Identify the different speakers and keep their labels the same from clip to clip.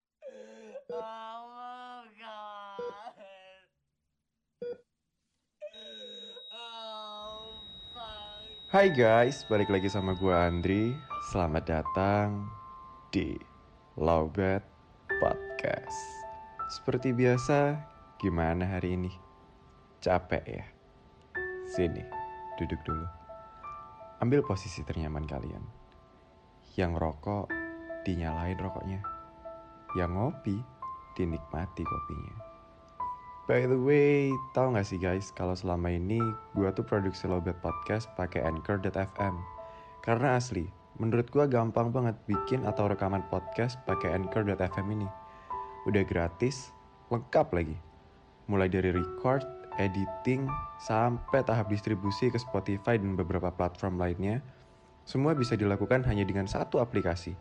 Speaker 1: Oh my god. Oh fuck.
Speaker 2: Hai guys, balik lagi sama gue Andri. Selamat datang di Lowbat Podcast. Seperti biasa, gimana hari ini? Capek ya? Sini, duduk dulu. Ambil posisi ternyaman kalian. Yang rokok, dinyalain rokoknya. Yang ngopi, dinikmati kopinya. By the way, tahu nggak sih guys, kalau selama ini gua tuh produksi Lobet Podcast pakai Anchor.fm. Karena asli, menurut gua gampang banget bikin atau rekaman podcast pakai Anchor.fm ini. Udah gratis, lengkap lagi. Mulai dari record, editing, sampai tahap distribusi ke Spotify dan beberapa platform lainnya, semua bisa dilakukan hanya dengan satu aplikasi.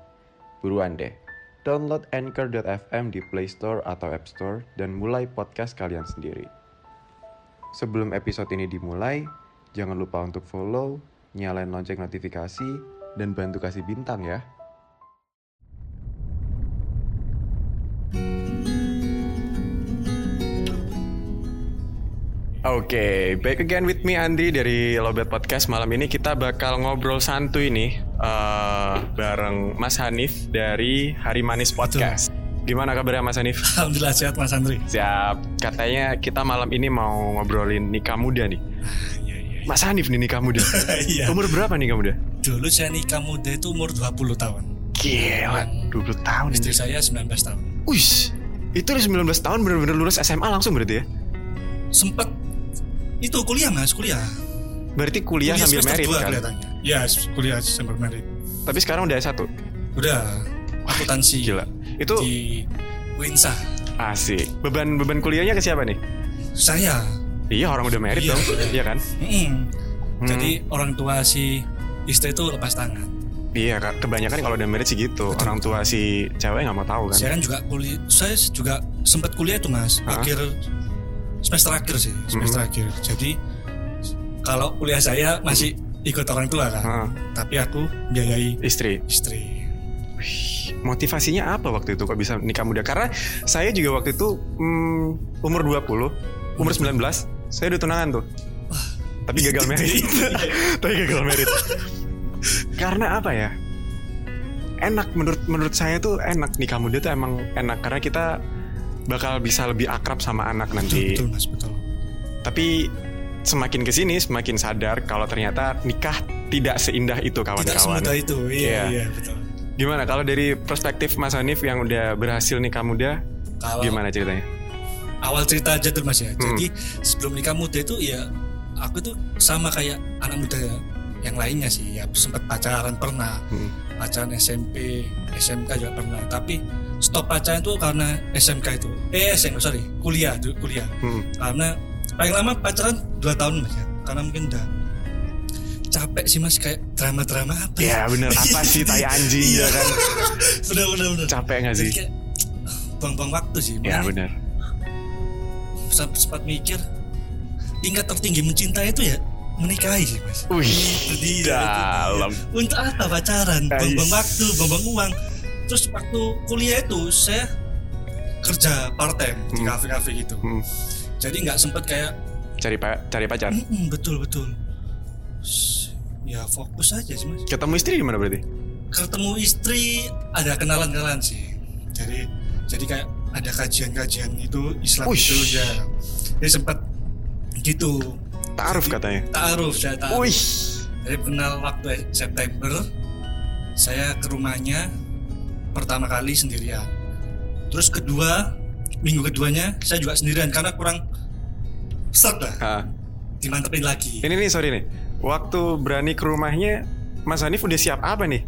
Speaker 2: Buruan deh, download Anchor.fm di Play Store atau App Store dan mulai podcast kalian sendiri. Sebelum episode ini dimulai, jangan lupa untuk follow, nyalain lonceng notifikasi, dan bantu kasih bintang ya. Oke, back again with me Andri dari Lobet Podcast. Malam ini kita bakal ngobrol santuy nih eh, bareng Mas Hanif dari Hari Manis Podcast. Gimana kabarnya Mas Hanif?
Speaker 3: Alhamdulillah sehat Mas Andri.
Speaker 2: Siap. Katanya kita malam ini mau ngobrolin nikah muda nih.
Speaker 3: Iya iya.
Speaker 2: Mas Hanif nih nikah muda.
Speaker 3: Iya.
Speaker 2: Umur berapa nikah muda?
Speaker 3: Dulu saya nikah muda itu umur 20 tahun.
Speaker 2: Gila, 20 tahun
Speaker 3: Istri
Speaker 2: ini.
Speaker 3: saya 19 tahun.
Speaker 2: Uish, itu udah 19 tahun bener-bener lulus SMA langsung berarti ya?
Speaker 3: Sempet itu kuliah Mas, kuliah.
Speaker 2: Berarti kuliah, sambil
Speaker 3: semester
Speaker 2: merit
Speaker 3: dua
Speaker 2: kan?
Speaker 3: kelihatannya. Ya, kuliah sambil merit.
Speaker 2: Tapi sekarang udah S1.
Speaker 3: Udah akuntansi
Speaker 2: Gila. Itu
Speaker 3: di Winsa.
Speaker 2: asik. Beban beban kuliahnya ke siapa nih?
Speaker 3: Saya.
Speaker 2: Iya, orang udah merit
Speaker 3: Iya.
Speaker 2: dong. Iya kan?
Speaker 3: Mm-mm. Jadi orang tua si istri itu lepas tangan.
Speaker 2: Iya, Kak. kebanyakan kalau udah merit sih gitu. Orang tua si cewek nggak mau tahu kan.
Speaker 3: Saya kan juga kuliah, saya juga sempat kuliah itu Mas,
Speaker 2: Hah? Mm-hmm.
Speaker 3: akhir semester akhir sih, semester akhir. Jadi kalau kuliah saya masih ikut orang tua kan.
Speaker 2: Heeh.
Speaker 3: tapi aku biayai
Speaker 2: Istri.
Speaker 3: istri
Speaker 2: Wih, motivasinya apa waktu itu kok bisa nikah muda? Karena saya juga waktu itu mm, umur 20, umur 19, saya udah tunangan tuh. Tapi gagal merit. Tapi gagal merit. karena apa ya? Enak menurut menurut saya tuh enak nikah muda tuh emang enak karena kita bakal bisa lebih akrab sama anak nanti.
Speaker 3: betul, betul mas betul
Speaker 2: Tapi semakin kesini semakin sadar kalau ternyata nikah tidak seindah itu
Speaker 3: tidak
Speaker 2: kawan-kawan.
Speaker 3: semudah itu iya
Speaker 2: Iya.
Speaker 3: iya betul
Speaker 2: Gimana kalau dari perspektif Mas Hanif yang udah berhasil nikah muda,
Speaker 3: kalau
Speaker 2: gimana ceritanya?
Speaker 3: awal cerita aja tuh mas ya
Speaker 2: Hmm.
Speaker 3: jadi sebelum nikah muda itu ya aku tuh sama kayak anak muda yang lainnya sih ya sempat pacaran pernah
Speaker 2: Hmm.
Speaker 3: pacaran SMP SMK juga pernah tapi stop pacaran tuh karena SMK itu eh SMK sorry kuliah dulu kuliah
Speaker 2: Hmm.
Speaker 3: karena paling lama pacaran 2 tahun mas ya karena mungkin udah capek sih mas kayak drama-drama apa
Speaker 2: Ya bener apa sih tai anjing ya kan?
Speaker 3: bener bener bener
Speaker 2: Capek nggak
Speaker 3: Jadi
Speaker 2: sih?
Speaker 3: kayak, ah, buang-buang waktu sih
Speaker 2: Ya
Speaker 3: Makanya
Speaker 2: bener.
Speaker 3: sempat, sempat mikir tingkat tertinggi mencintai itu ya menikahi sih mas
Speaker 2: Wih,
Speaker 3: Jadi,
Speaker 2: dalam.
Speaker 3: untuk apa pacaran
Speaker 2: Ais.
Speaker 3: buang-buang waktu buang-buang uang terus waktu kuliah itu saya kerja part time di
Speaker 2: Hmm.
Speaker 3: kafe-kafe gitu
Speaker 2: Hmm.
Speaker 3: jadi nggak sempat kayak
Speaker 2: Cari pa- cari pacar.
Speaker 3: "Mm-mm, betul betul S- ya fokus aja sih mas
Speaker 2: Ketemu istri gimana berarti?
Speaker 3: ketemu istri ada kenalan-kenalan sih jadi jadi kayak ada kajian-kajian itu Islam
Speaker 2: Uish.
Speaker 3: itu ya ya sempat gitu
Speaker 2: Taaruf katanya.
Speaker 3: taaruf saya taaruf
Speaker 2: Wih.
Speaker 3: jadi kenal waktu September saya ke rumahnya pertama kali sendirian terus kedua minggu keduanya saya juga sendirian karena kurang serak
Speaker 2: Ah,
Speaker 3: lah dimantepin lagi
Speaker 2: Ini nih sorry nih. Waktu berani ke rumahnya, Mas Hanif udah siap apa nih?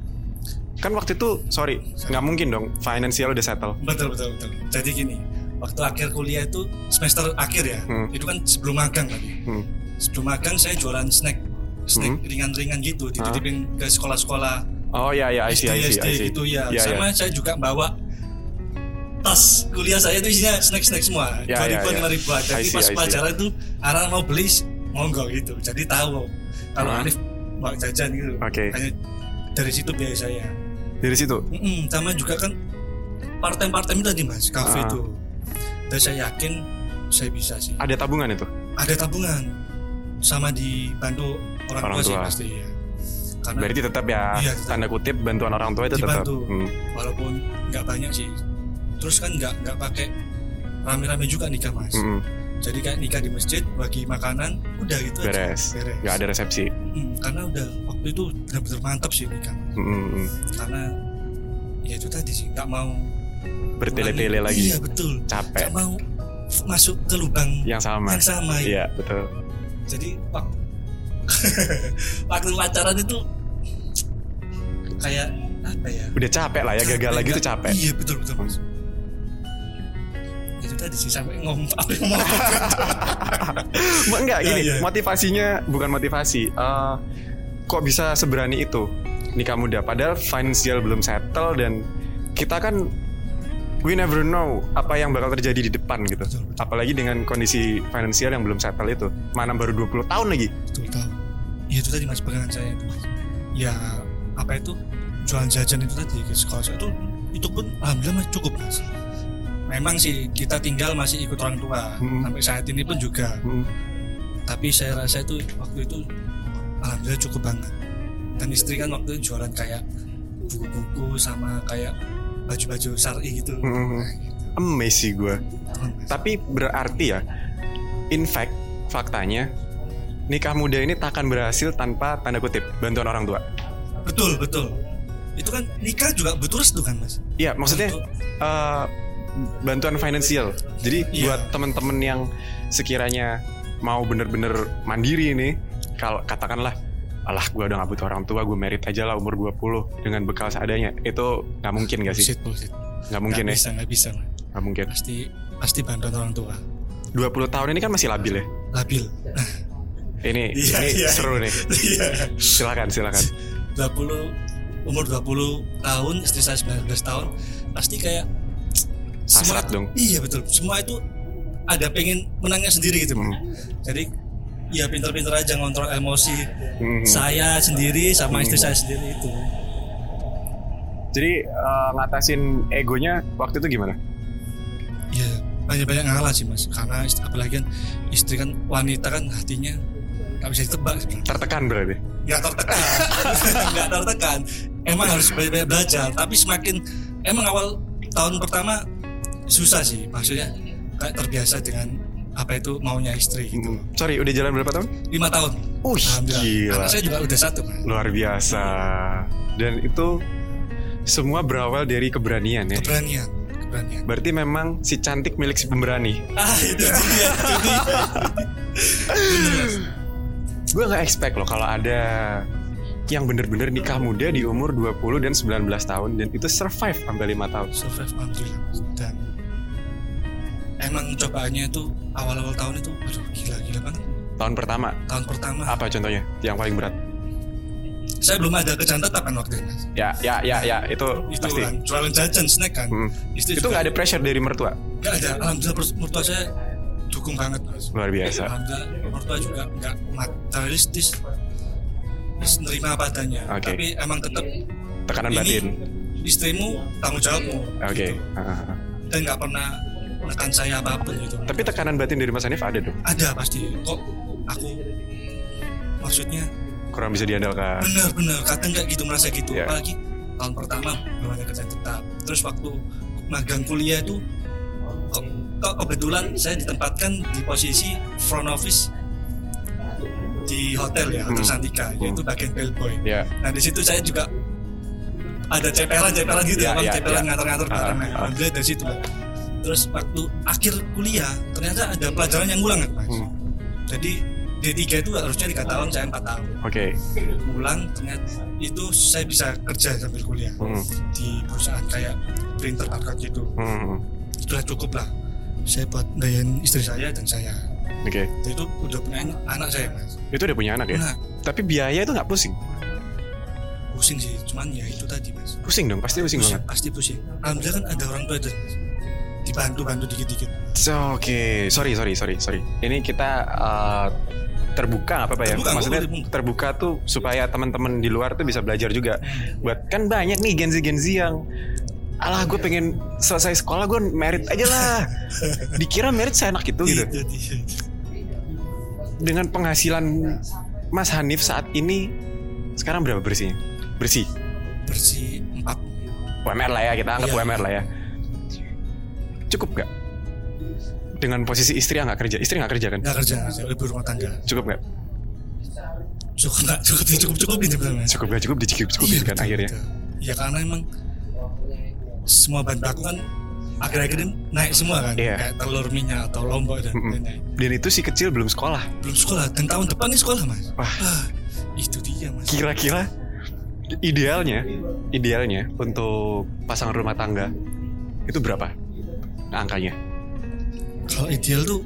Speaker 2: Kan waktu itu sorry, nggak mungkin dong. Finansial udah settle.
Speaker 3: Betul betul betul. Jadi gini, waktu akhir kuliah itu semester akhir ya,
Speaker 2: Hmm.
Speaker 3: itu kan sebelum magang tadi.
Speaker 2: Hmm.
Speaker 3: Sebelum magang saya jualan snack, snack
Speaker 2: Hmm.
Speaker 3: ringan-ringan gitu, dititipin ke sekolah-sekolah
Speaker 2: Oh ya ya, I see,
Speaker 3: SD
Speaker 2: I see,
Speaker 3: SD
Speaker 2: I see.
Speaker 3: gitu ya.
Speaker 2: Ya, ya.
Speaker 3: Sama saya juga bawa tas kuliah saya itu isinya snack-snack semua,
Speaker 2: Ya,
Speaker 3: dua
Speaker 2: ya,
Speaker 3: ribuan
Speaker 2: ya.
Speaker 3: lima ribuan. Jadi
Speaker 2: I see,
Speaker 3: pas
Speaker 2: I see.
Speaker 3: pelajaran itu arah mau beli monggo gitu, jadi tahu kalau
Speaker 2: Ah.
Speaker 3: Arif mau jajan gitu.
Speaker 2: Oke.
Speaker 3: Hanya dari situ biaya saya.
Speaker 2: Dari situ.
Speaker 3: Mm-mm, sama juga kan part-time-part-time itu tadi mas
Speaker 2: Ah.
Speaker 3: kafe itu dan saya yakin saya bisa sih
Speaker 2: Ada tabungan itu?
Speaker 3: ada tabungan sama dibantu orang,
Speaker 2: Orang
Speaker 3: tua, sih
Speaker 2: tua.
Speaker 3: pasti ya karena
Speaker 2: Berarti tetap ya
Speaker 3: Iya, tetap.
Speaker 2: tanda kutip bantuan orang tua itu tetap.
Speaker 3: Dibantu.
Speaker 2: Hmm.
Speaker 3: walaupun nggak banyak sih terus kan nggak nggak pakai rame-rame juga nikah mas
Speaker 2: Mm-mm.
Speaker 3: jadi kayak nikah di masjid bagi makanan udah gitu
Speaker 2: Beres.
Speaker 3: aja beres
Speaker 2: Nggak ada resepsi.
Speaker 3: Mm, karena udah waktu itu benar-benar mantap sih nikah mas
Speaker 2: Mm-mm.
Speaker 3: karena ya itu tadi sih nggak mau
Speaker 2: Bertele-tele
Speaker 3: ulangi.
Speaker 2: lagi.
Speaker 3: iya betul
Speaker 2: Capek.
Speaker 3: nggak mau f- masuk ke lubang
Speaker 2: Yang sama.
Speaker 3: yang sama ya.
Speaker 2: Iya betul.
Speaker 3: jadi waktu waktu pacaran itu kayak apa ya
Speaker 2: Udah capek lah ya gagal
Speaker 3: Capek,
Speaker 2: lagi tuh
Speaker 3: nggak-
Speaker 2: capek.
Speaker 3: iya betul betul mas itu tadi sih sampai ngomong apa yang mau ngomong.
Speaker 2: Mbak, enggak
Speaker 3: Iya,
Speaker 2: gini,
Speaker 3: iya.
Speaker 2: motivasinya bukan motivasi. Eh, kok bisa seberani itu nikah muda? Padahal financial belum settle dan kita kan we never know apa yang bakal terjadi di depan gitu.
Speaker 3: betul betul
Speaker 2: Apalagi dengan kondisi finansial yang belum settle itu. Mana baru 20 tahun lagi.
Speaker 3: betul tahu iya itu tadi mas pegangan saya itu mas ya apa itu jualan jajan itu tadi ke sekolah saya itu itu pun alhamdulillah mas cukup mas memang sih kita tinggal masih ikut orang tua
Speaker 2: Hmm.
Speaker 3: sampai saat ini pun juga
Speaker 2: Hmm,
Speaker 3: tapi saya rasa itu waktu itu alhamdulillah cukup banget dan istri kan waktu itu jualan kayak buku-buku sama kayak baju-baju syari gitu
Speaker 2: hmm, hmm. Amazed sih gue. Tapi berarti ya, in fact, faktanya nikah muda ini tak akan berhasil tanpa tanda kutip bantuan orang tua.
Speaker 3: betul betul itu kan nikah juga butuh restu kan mas
Speaker 2: Iya, maksudnya
Speaker 3: Betul.
Speaker 2: eh, bantuan finansial. Jadi
Speaker 3: Iya.
Speaker 2: buat temen-temen yang sekiranya mau bener-bener mandiri ini, kalau katakanlah alah gue udah gak butuh orang tua gue merit aja lah umur 20 dengan bekal seadanya itu nggak mungkin gak sih
Speaker 3: Bullshit, bullshit.
Speaker 2: nggak mungkin
Speaker 3: Nggak
Speaker 2: ya
Speaker 3: bisa nggak bisa Mas.
Speaker 2: nggak mungkin
Speaker 3: pasti pasti bantuan orang tua
Speaker 2: 20 tahun ini kan masih labil ya
Speaker 3: labil
Speaker 2: ini
Speaker 3: Iya,
Speaker 2: ini
Speaker 3: iya.
Speaker 2: seru nih
Speaker 3: iya
Speaker 2: silakan silakan
Speaker 3: 20 umur 20 tahun istri saya 19 tahun pasti kayak
Speaker 2: hasrat dong
Speaker 3: iya betul semua itu ada pengen menangnya sendiri gitu
Speaker 2: Hmm.
Speaker 3: jadi ya pinter-pinter aja ngontrol emosi
Speaker 2: Hmm.
Speaker 3: saya sendiri sama istri
Speaker 2: Hmm.
Speaker 3: saya sendiri itu
Speaker 2: Jadi eh, ngatasin egonya waktu itu gimana?
Speaker 3: ya banyak-banyak ngalah sih mas karena ist- apalagi kan istri kan wanita kan hatinya nggak bisa ditebak sebenarnya.
Speaker 2: Tertekan berarti.
Speaker 3: nggak tertekan nggak tertekan emang harus banyak-banyak belajar tapi semakin emang awal tahun pertama susah sih maksudnya kayak terbiasa dengan apa itu maunya istri gitu
Speaker 2: Hmm. Sorry, udah jalan berapa tahun?
Speaker 3: lima tahun
Speaker 2: Uh,
Speaker 3: alhamdulillah
Speaker 2: gila.
Speaker 3: anak saya juga udah satu mas
Speaker 2: Luar biasa. Dan itu semua berawal dari keberanian ya.
Speaker 3: keberanian keberanian
Speaker 2: Berarti memang si cantik milik si pemberani.
Speaker 3: ah itu dia itu dia Bener, Mas.
Speaker 2: Gue nggak expect loh kalau ada yang bener-bener nikah muda di umur 20 dan 19 tahun dan itu survive sampai 5 tahun.
Speaker 3: survive alhamdulillah Mas. dan emang cobaannya itu awal-awal tahun itu aduh gila-gila banget
Speaker 2: Tahun pertama
Speaker 3: tahun pertama
Speaker 2: apa contohnya yang paling berat?
Speaker 3: saya belum ada kerjaan tetap kan waktu itu Mas.
Speaker 2: Ya, ya, ya, ya, itu,
Speaker 3: itu
Speaker 2: pasti.
Speaker 3: kan jualan jajan snack kan
Speaker 2: Hmm.
Speaker 3: istri
Speaker 2: Itu nggak ada pressure dari mertua.
Speaker 3: nggak ada alhamdulillah pers- mertua saya dukung banget Mas.
Speaker 2: Luar biasa.
Speaker 3: alhamdulillah mertua juga nggak materialistis Terus nerima apa adanya
Speaker 2: Oke.
Speaker 3: tapi emang tetap
Speaker 2: Tekanan
Speaker 3: Ini-
Speaker 2: batin.
Speaker 3: istrimu tanggung jawabmu
Speaker 2: Oke.
Speaker 3: gitu.
Speaker 2: Ah, ah, ah.
Speaker 3: dan nggak pernah menekan saya apapun gitu
Speaker 2: Tapi tekanan batin dari Mas Hanif ada dong.
Speaker 3: ada pasti kok aku maksudnya
Speaker 2: Kurang bisa diandalkan.
Speaker 3: benar-benar kadang nggak gitu merasa gitu
Speaker 2: Iya.
Speaker 3: apalagi tahun pertama belum ada kerjaan tetap terus waktu magang kuliah itu kok, kok kebetulan saya ditempatkan di posisi front office di hotel ya hotel
Speaker 2: Hmm.
Speaker 3: Santika yaitu bagian bellboy
Speaker 2: Ya.
Speaker 3: nah di situ saya juga ada cepelan cepelan gitu
Speaker 2: Iya,
Speaker 3: ya, Bang,
Speaker 2: iya,
Speaker 3: cepelan
Speaker 2: iya.
Speaker 3: ngantar-ngantar
Speaker 2: Ah,
Speaker 3: barang
Speaker 2: ah.
Speaker 3: alhamdulillah dari situ Bang. terus waktu akhir kuliah ternyata ada pelajaran yang ulang kan mas
Speaker 2: Hmm.
Speaker 3: jadi D3 itu harusnya tiga tahun saya empat tahun
Speaker 2: Oke.
Speaker 3: pulang ternyata itu saya bisa kerja sambil kuliah
Speaker 2: Hmm,
Speaker 3: di perusahaan kayak printer market gitu
Speaker 2: hmm, hmm.
Speaker 3: sudah cukup lah saya buat bayarin istri saya dan saya
Speaker 2: Oke.
Speaker 3: Dan itu udah punya anak- anak saya mas
Speaker 2: Itu udah punya anak ya.
Speaker 3: nah
Speaker 2: Tapi biaya itu nggak pusing.
Speaker 3: pusing sih cuman ya itu tadi mas
Speaker 2: Pusing dong, pasti pusing banget.
Speaker 3: pasti pusing alhamdulillah kan ada orang tua dan dibantu bantu dikit dikit
Speaker 2: So, Oke, sorry, sorry, sorry, sorry. Ini kita uh, terbuka nggak apa-apa ya?
Speaker 3: Terbuka,
Speaker 2: Maksudnya
Speaker 3: boleh, boleh.
Speaker 2: terbuka tuh
Speaker 3: Hmm.
Speaker 2: supaya teman-teman di luar tuh bisa belajar juga. Buat kan banyak nih Gen Z Gen Z yang Alah
Speaker 3: Iya.
Speaker 2: gue pengen selesai sekolah gue merit aja lah. Dikira merit seenak itu gitu.
Speaker 3: Itu dia.
Speaker 2: Dengan
Speaker 3: Ya.
Speaker 2: penghasilan Mas Hanif saat ini sekarang berapa bersihnya? Bersih.
Speaker 3: bersih empat
Speaker 2: UMR lah ya kita anggap
Speaker 3: Iya.
Speaker 2: UMR lah ya. Cukup gak? Dengan posisi istri yang nggak kerja, istri nggak kerja kan?
Speaker 3: nggak kerja nggak kerja lebih rumah tangga
Speaker 2: Cukup gak?
Speaker 3: cukup nggak cukup cukup cukup nih sebenarnya
Speaker 2: Cukup gak? Cukup dicukup cukup
Speaker 3: Iya,
Speaker 2: kan
Speaker 3: betul,
Speaker 2: akhirnya.
Speaker 3: betul. ya karena emang semua bahan baku kan akhir-akhir ini naik semua kan
Speaker 2: Iya.
Speaker 3: kayak telur minyak atau lombok dan
Speaker 2: Mm-mm.
Speaker 3: lain-lain
Speaker 2: Dan itu si kecil belum sekolah.
Speaker 3: belum sekolah dan tahun depan nih sekolah mas
Speaker 2: Wah.
Speaker 3: Ah, itu dia mas
Speaker 2: Kira-kira idealnya, idealnya untuk pasangan rumah tangga itu berapa angkanya?
Speaker 3: kalau ideal tuh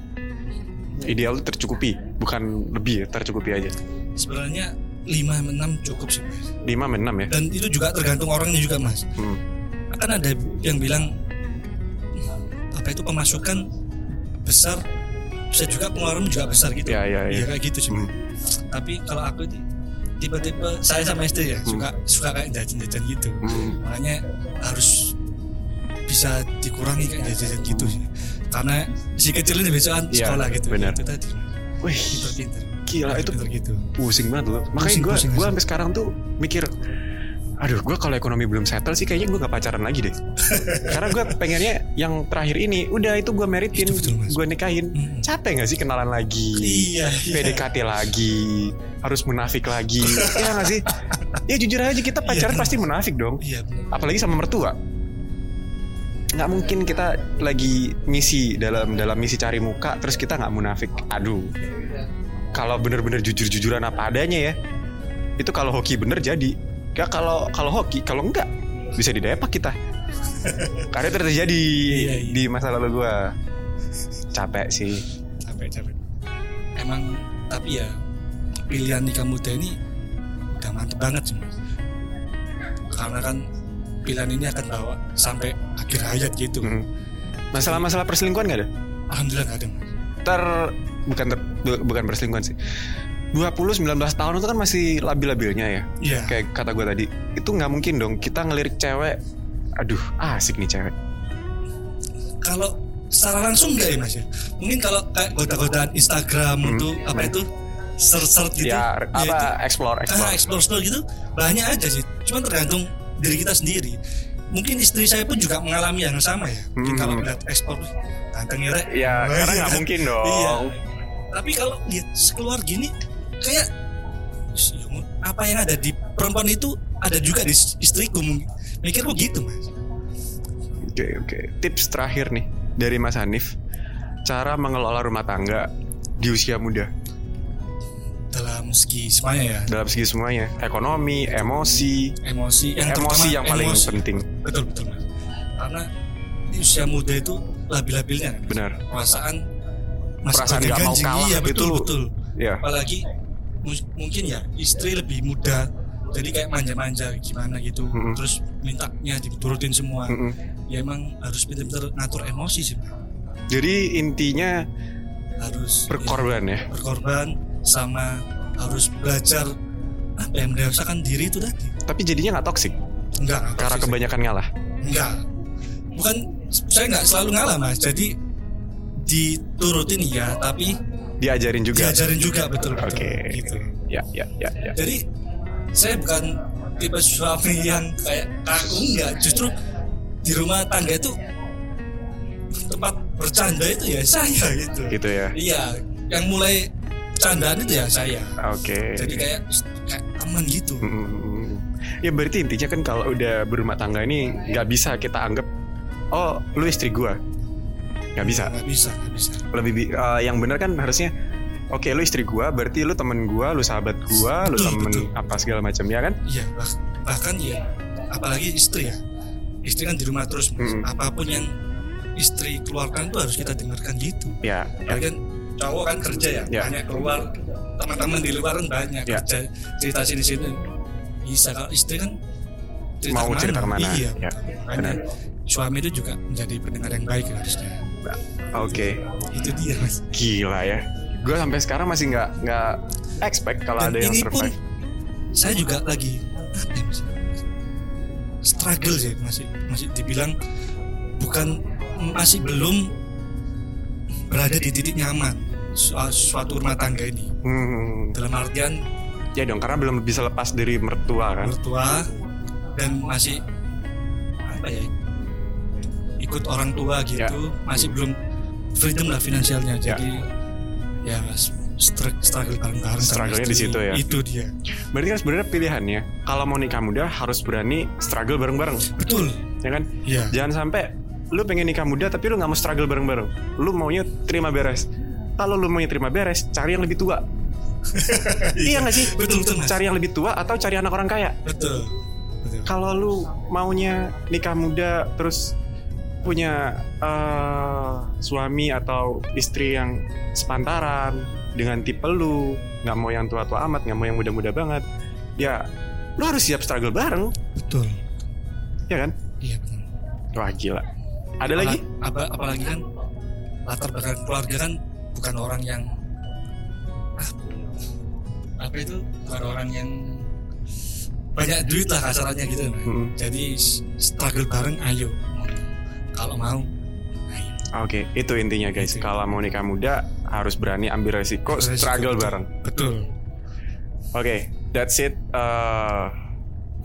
Speaker 2: Ideal tuh tercukupi, bukan lebih ya, tercukupi aja.
Speaker 3: sebenarnya 5 6 cukup sih mas
Speaker 2: 5 sama 6 ya.
Speaker 3: dan itu juga tergantung orangnya juga mas
Speaker 2: Hmm.
Speaker 3: kan ada yang bilang apa itu pemasukan besar bisa juga pengeluaran juga besar gitu
Speaker 2: Ya, ya, ya.
Speaker 3: kayak gitu sih Mas.
Speaker 2: Hmm.
Speaker 3: tapi kalau aku itu tipe-tipe saya sama istri ya suka suka kayak jajan-jajan gitu
Speaker 2: Hmm.
Speaker 3: makanya harus bisa dikurangi kayak jajan-jajan gitu sih karena si kecil ini besok kan
Speaker 2: Hmm. Iya,
Speaker 3: sekolah gitu
Speaker 2: benar.
Speaker 3: itu tadi
Speaker 2: Wih,
Speaker 3: pinter-pinter
Speaker 2: gila itu
Speaker 3: pinter gitu
Speaker 2: pusing banget loh. Makanya
Speaker 3: Pusing,
Speaker 2: gue
Speaker 3: pusing,
Speaker 2: gue
Speaker 3: pusing.
Speaker 2: sampai sekarang tuh mikir Aduh, gue kalau ekonomi belum settle sih kayaknya gue gak pacaran lagi deh. Karena gue pengennya yang terakhir ini, udah itu gue meritin,
Speaker 3: Itu betul, Mas.
Speaker 2: gue nikahin.
Speaker 3: Mm.
Speaker 2: Capek gak sih kenalan lagi?
Speaker 3: iya iya
Speaker 2: PDKT lagi, harus munafik lagi. Iya gak sih? Ya jujur aja kita pacaran
Speaker 3: Iya.
Speaker 2: pasti munafik dong.
Speaker 3: iya benar.
Speaker 2: Apalagi sama mertua. Nggak mungkin kita lagi misi dalam dalam misi cari muka terus kita nggak munafik. Aduh. Kalau bener-bener jujur-jujuran apa adanya ya. Itu kalau hoki bener jadi. Ya kalau kalau hoki, kalau enggak bisa didepak kita. Karena itu terjadi
Speaker 3: Iya, iya.
Speaker 2: di masa lalu gua. Capek sih.
Speaker 3: capek capek emang tapi ya pilihan nikah muda ini udah mantep banget sih mas karena kan pilihan ini akan bawa sampai akhir hayat gitu
Speaker 2: Mm. Masalah-masalah perselingkuhan nggak ada?
Speaker 3: alhamdulillah gak ada mas
Speaker 2: ter bukan ter, bu- bukan perselingkuhan sih 20 19 tahun itu kan masih labil-labilnya ya
Speaker 3: iya
Speaker 2: kayak kata gue tadi itu nggak mungkin dong kita ngelirik cewek aduh asik nih cewek
Speaker 3: kalau secara langsung enggak ya mas ya mungkin kalau kayak goda-godaan Instagram
Speaker 2: Hmm.
Speaker 3: itu apa itu search-search gitu
Speaker 2: ya
Speaker 3: ya
Speaker 2: apa
Speaker 3: itu.
Speaker 2: explore
Speaker 3: karena
Speaker 2: explore
Speaker 3: explore explore gitu banyak aja sih cuman tergantung diri kita sendiri mungkin istri saya pun juga mengalami yang sama ya mungkin
Speaker 2: Hmm.
Speaker 3: kalau lihat explore tanteng ya Rek.
Speaker 2: ya
Speaker 3: Wah,
Speaker 2: karena
Speaker 3: iya.
Speaker 2: nggak mungkin dong
Speaker 3: Iya. Tapi kalau dia keluar gini kayak "Ih, ya ampun, apa yang ada di perempuan itu ada juga di istriku mungkin. Mikirku gitu, Mas.
Speaker 2: oke oke tips terakhir nih dari Mas Hanif cara mengelola rumah tangga di usia muda
Speaker 3: Dalam segi semuanya ya,
Speaker 2: dalam segi semuanya ekonomi emosi
Speaker 3: emosi yang
Speaker 2: emosi
Speaker 3: terutama
Speaker 2: yang paling
Speaker 3: emosi.
Speaker 2: penting
Speaker 3: Betul betul, Mas. Karena di usia muda itu labil-labilnya kan?
Speaker 2: benar
Speaker 3: perasaan
Speaker 2: Perasaan nggak mau
Speaker 3: gonjang-ganjing.
Speaker 2: kalah
Speaker 3: iya, betul,
Speaker 2: itu-
Speaker 3: betul.
Speaker 2: ya
Speaker 3: Apalagi mu- mungkin ya istri lebih muda jadi kayak manja-manja gimana gitu
Speaker 2: Mm-mm.
Speaker 3: terus mintanya diturutin semua
Speaker 2: Mm-mm.
Speaker 3: ya emang harus pintar-pintar ngatur emosi sih Pak.
Speaker 2: jadi intinya
Speaker 3: harus
Speaker 2: berkorban ya
Speaker 3: ya, berkorban sama harus belajar apa ya mendewasakan diri itu tadi
Speaker 2: tapi jadinya nggak toksik
Speaker 3: enggak nggak
Speaker 2: karena
Speaker 3: toxic.
Speaker 2: kebanyakan ngalah
Speaker 3: enggak bukan saya nggak selalu ngalah mas jadi diturutin ya tapi
Speaker 2: diajarin juga
Speaker 3: diajarin juga betul betul
Speaker 2: Oke.
Speaker 3: gitu
Speaker 2: ya ya ya ya
Speaker 3: jadi saya bukan tipe suami yang kayak kaku enggak justru di rumah tangga itu tempat bercanda itu ya saya gitu
Speaker 2: gitu ya
Speaker 3: Iya, yang mulai candaan itu ya saya.
Speaker 2: oke Hmm,
Speaker 3: Jadi kayak kayak teman gitu.
Speaker 2: Mm-mm. ya berarti intinya kan kalau udah berumah tangga ini nggak bisa kita anggap oh lu istri gua nggak bisa
Speaker 3: Nggak bisa, nggak bisa.
Speaker 2: lebih bi- eh, yang bener kan harusnya Oke, lu istri gua, berarti lu temen gua, lu sahabat gua, lu
Speaker 3: Betul,
Speaker 2: temen
Speaker 3: betul.
Speaker 2: apa segala macam ya kan?
Speaker 3: Iya, bah- bahkan ya apalagi istri ya. Istri kan di rumah terus, Mas.
Speaker 2: Mm-mm.
Speaker 3: apapun yang istri keluarkan itu harus kita dengarkan gitu.
Speaker 2: Ya, ya.
Speaker 3: Apalagi kan cowok kan kerja ya,
Speaker 2: Ya.
Speaker 3: banyak keluar teman-teman di luar kan banyak
Speaker 2: Ya.
Speaker 3: kerja cerita sini sini bisa kalau istri kan
Speaker 2: Mau cerita kemana,
Speaker 3: Iya,
Speaker 2: ya.
Speaker 3: makanya suami itu juga menjadi pendengar yang baik harusnya.
Speaker 2: oke,
Speaker 3: Itu dia mas.
Speaker 2: gila ya. Gua sampai sekarang masih nggak nggak expect kalau
Speaker 3: Dan
Speaker 2: ada yang
Speaker 3: ini pun
Speaker 2: survive.
Speaker 3: saya juga lagi apa ya, Mas? struggle sih masih masih dibilang bukan masih belum berada di titik nyaman soal suatu rumah tangga ini
Speaker 2: Hmm,
Speaker 3: dalam artian
Speaker 2: ya dong karena belum bisa lepas dari mertua kan.
Speaker 3: mertua dan masih apa ya ikut orang tua gitu masih belum freedom lah finansialnya
Speaker 2: Ya.
Speaker 3: jadi ya str- struggle bareng-bareng sama
Speaker 2: Struggle-nya di
Speaker 3: istri.
Speaker 2: situ ya.
Speaker 3: itu dia
Speaker 2: Berarti kan sebenarnya pilihannya kalau mau nikah muda harus berani struggle bareng-bareng,
Speaker 3: betul
Speaker 2: ya kan?
Speaker 3: ya
Speaker 2: Jangan sampai lu pengen nikah muda tapi lu nggak mau struggle bareng-bareng. Lu maunya terima beres. Kalau lu maunya terima beres, cari yang lebih tua. iya nggak sih?
Speaker 3: betul betul mas
Speaker 2: Cari yang lebih tua atau cari anak orang kaya.
Speaker 3: betul betul
Speaker 2: Kalau lu maunya nikah muda terus punya eh, suami atau istri yang sepantaran dengan tipe lu, nggak mau yang tua-tua amat, nggak mau yang muda-muda banget, ya lu harus siap struggle bareng,
Speaker 3: betul
Speaker 2: ya kan?
Speaker 3: iya betul
Speaker 2: Wah gila. Ada lagi?
Speaker 3: apa apalagi kan latar belakang keluarga kan bukan orang yang Ah, apa itu bukan orang yang banyak duit lah kasarannya gitu
Speaker 2: Mm-mm.
Speaker 3: jadi s- struggle bareng ayo kalau mau ayo
Speaker 2: Oke, itu intinya guys.
Speaker 3: Itu.
Speaker 2: Kalau mau nikah muda harus berani ambil resiko,
Speaker 3: Resiko,
Speaker 2: struggle
Speaker 3: betul.
Speaker 2: bareng.
Speaker 3: betul
Speaker 2: Oke, that's it. Eh,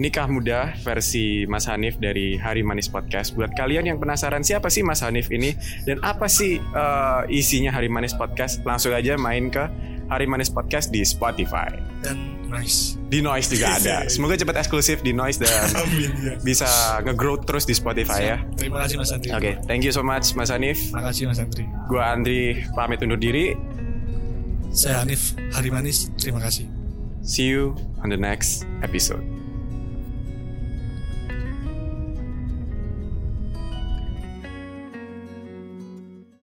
Speaker 2: nikah muda versi Mas Hanif dari Hari Manis Podcast. Buat kalian yang penasaran siapa sih Mas Hanif ini dan apa sih eh, isinya Hari Manis Podcast, langsung aja main ke Hari Manis Podcast di Spotify.
Speaker 3: dan nice
Speaker 2: Di Noise juga ada. Semoga cepat eksklusif di Noise dan
Speaker 3: amin ya
Speaker 2: bisa nge-growth terus di Spotify ya.
Speaker 3: terima kasih mas Andri
Speaker 2: Oke, thank you so much Mas Hanif.
Speaker 3: terima kasih mas Andri
Speaker 2: Gua Andri pamit undur diri.
Speaker 3: saya Hanif Hari Manis terima kasih
Speaker 2: See you on the next episode.